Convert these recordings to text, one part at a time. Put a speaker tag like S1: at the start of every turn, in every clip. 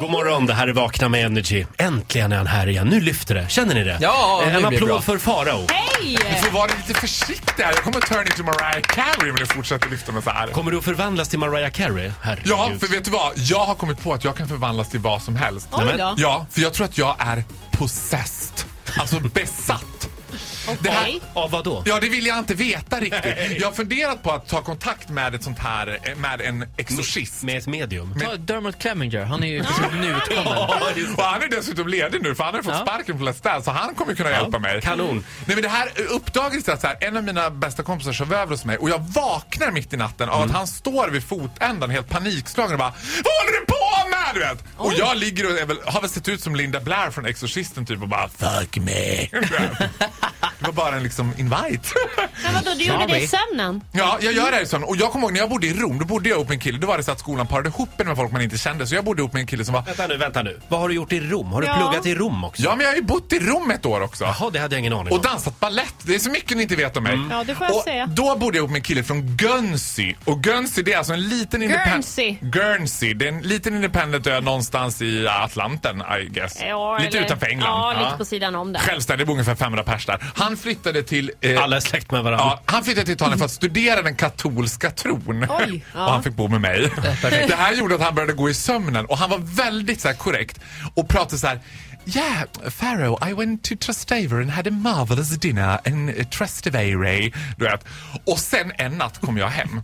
S1: God morgon, det här är Vakna med Energy. Äntligen är han här igen. Nu lyfter det. Känner ni det?
S2: Ja,
S1: Eh,
S2: nu
S1: En
S2: blir det
S1: applåd
S2: bra.
S1: för Farao.
S3: Du får vara lite försiktig här. Jag kommer turn into Mariah Carey om du fortsätter lyfta mig så här.
S1: Kommer du att förvandlas till Mariah Carey? Herregud.
S3: Ja, för vet du vad? Jag har kommit på att jag kan förvandlas till vad som helst.
S1: Nej, men-
S4: då.
S3: Ja, för jag tror att jag är possessed. Alltså besatt. Det här,
S1: Av vad då?
S3: ja, det vill jag inte veta riktigt. Jag har funderat på att ta kontakt med ett sånt här, eh, med en exorcist.
S1: Med ett medium?
S2: Ta Dermot Clemenger, han är ju precis nyutkommen.
S3: Och han är dessutom ledig nu för han har fått
S2: Ja.
S3: sparken från Let's Dance så han kommer kunna hjälpa mig.
S1: kanon.
S3: Nej men det här uppdagades att så här, en av mina bästa kompisar sov över hos mig och jag vaknar mitt i natten av att han står vid fotändan helt panikslagen och bara Vad håller du på med? Du vet? Och jag ligger och är väl, har väl sett ut som Linda Blair från Exorcisten typ och bara Fuck me. Du vet. Det var bara en liksom invite.
S4: Men vadå, du gjorde det i sömnen?
S3: Ja, jag gör det här sån. Och jag kommer ihåg när jag bodde i Rom, då bodde jag ihop med en kille. Då var det så att skolan parade ihop en med folk man inte kände. Så jag bodde ihop med en kille som var
S1: Vänta nu, vänta nu. Vad har du gjort i Rom? Har du
S4: Ja.
S1: pluggat i Rom också?
S3: Ja, men jag har ju bott i Rom ett år också.
S1: Jaha, det hade jag ingen aning om.
S3: Och dansat ballett. Det är så mycket ni inte vet om mig.
S4: Mm. Ja, det får jag
S3: och
S4: säga.
S3: Då bodde jag ihop med en kille från Guernsey. Och Guernsey det är alltså en liten
S4: Guernsey.
S3: independent... Guernsey. Det är en liten independent ö någonstans i Atlanten, I guess.
S4: Ja,
S3: lite
S4: eller-
S3: utanför England.
S4: Ja, lite på sidan om där.
S3: Självständig, det bor ungefär 500 pers där. Han flyttade till... eh,
S1: Alla är släkt med varandra.
S3: Ja, han flyttade till Italien för att studera den katolska tron.
S4: Oj, ja.
S3: Och han fick bo med mig. Det här gjorde att han började gå i sömnen och han var väldigt så här, korrekt och pratade så här. Yeah, Pharaoh, I went to Trastevere and had a marvelous dinner in eh, Trastevere. Du vet. Och sen en natt kom jag hem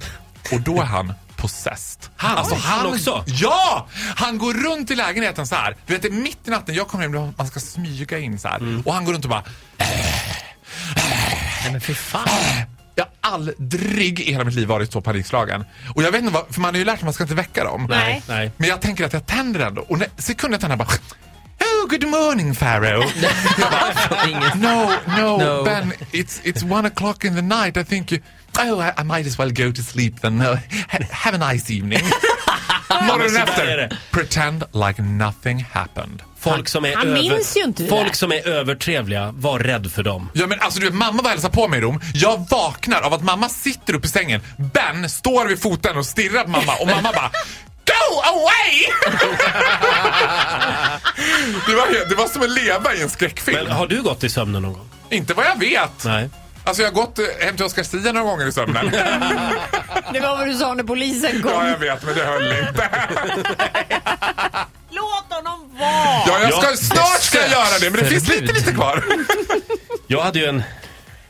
S3: och då är han possessed. Alltså, Han,
S1: Oj, han också?
S3: Ja! Han går runt i lägenheten så här. Du vet, det är mitt i natten, jag kommer hem, då man ska smyga in så här.
S1: Mm.
S3: Och han går runt och bara
S2: Nej men fy fan.
S3: Jag har aldrig i hela mitt liv varit så panikslagen. Och jag vet inte vad, för man har ju lärt sig att man ska inte väcka dem.
S4: Nej.
S1: Nej.
S3: Men jag tänker att jag tänder ändå. Och när sekunden jag tänder bara... Oh, good morning Pharaoh. jag bara,
S2: Inget.
S3: no, no,
S2: No.
S3: Ben, it's, it's one o'clock in the night. I think you... Oh, I, I might as well go to sleep then. No, ha- have a nice evening. Morgonen
S1: så där är
S3: efter.
S1: det.
S3: Pretend like nothing happened.
S1: Folk som är
S4: Han
S1: över...
S4: minns ju inte det där.
S1: Folk som är övertrevliga, var rädd för dem.
S3: Ja men alltså du vet, mamma var och hälsade på mig i Rom. Jag vaknar av att mamma sitter uppe i sängen. Ben står vid foten och stirrar på mamma och mamma bara Go away! det, var, helt- det var som att leva i en skräckfilm.
S1: Men har du gått i sömnen någon gång?
S3: Inte vad jag vet.
S1: Nej.
S3: Alltså jag har gått eh, hem till Oscar Zia några gånger i sömnen.
S4: Det var vad du sa när polisen kom.
S3: ja jag vet men det höll inte.
S4: Låt honom vara!
S3: Ja jag ska,
S1: Ja,
S3: snart ska jag göra det men det finns lite
S2: förbud.
S3: lite kvar.
S1: Jag hade ju en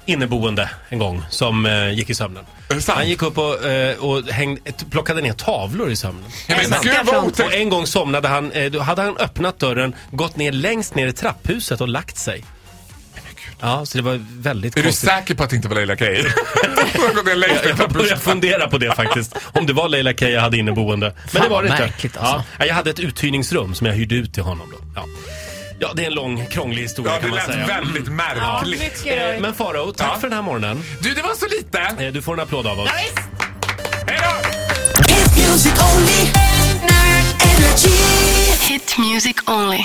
S1: inneboende en gång som eh, gick i sömnen.
S3: Är det sant?
S1: Han gick upp och, eh, och hängde, plockade ner tavlor i sömnen.
S3: Ja, men
S4: Älskar
S3: gud vad
S4: sånt.
S1: Och
S3: otäckt.
S1: en gång somnade han, eh, då hade han öppnat dörren, gått ner längst ner i trapphuset och lagt sig. Ja, så det var väldigt
S3: Är du
S1: konstigt.
S3: säker på att det inte var Leila Keir? Hon har gått ner längst i
S1: Jag började
S3: trappan.
S1: fundera på det faktiskt. Om det var Leila Kay jag hade inneboende. Men det var
S2: vad
S1: det inte.
S2: märkligt, alltså.
S1: ja, jag hade ett uthyrningsrum som jag hyrde ut till honom då. Ja, ja det är en lång, krånglig historia
S3: Ja, det
S1: kan man säga.
S3: lät väldigt
S4: Ja,
S3: märkligt.
S4: mycket
S1: Eh,
S4: röj.
S1: Men Farao, tack
S3: Ja.
S1: för den här morgonen.
S3: Du, det var så lite!
S1: Eh, Du får en applåd av oss.
S3: Hej då!
S5: It's music only. Energy.
S6: Hit music only.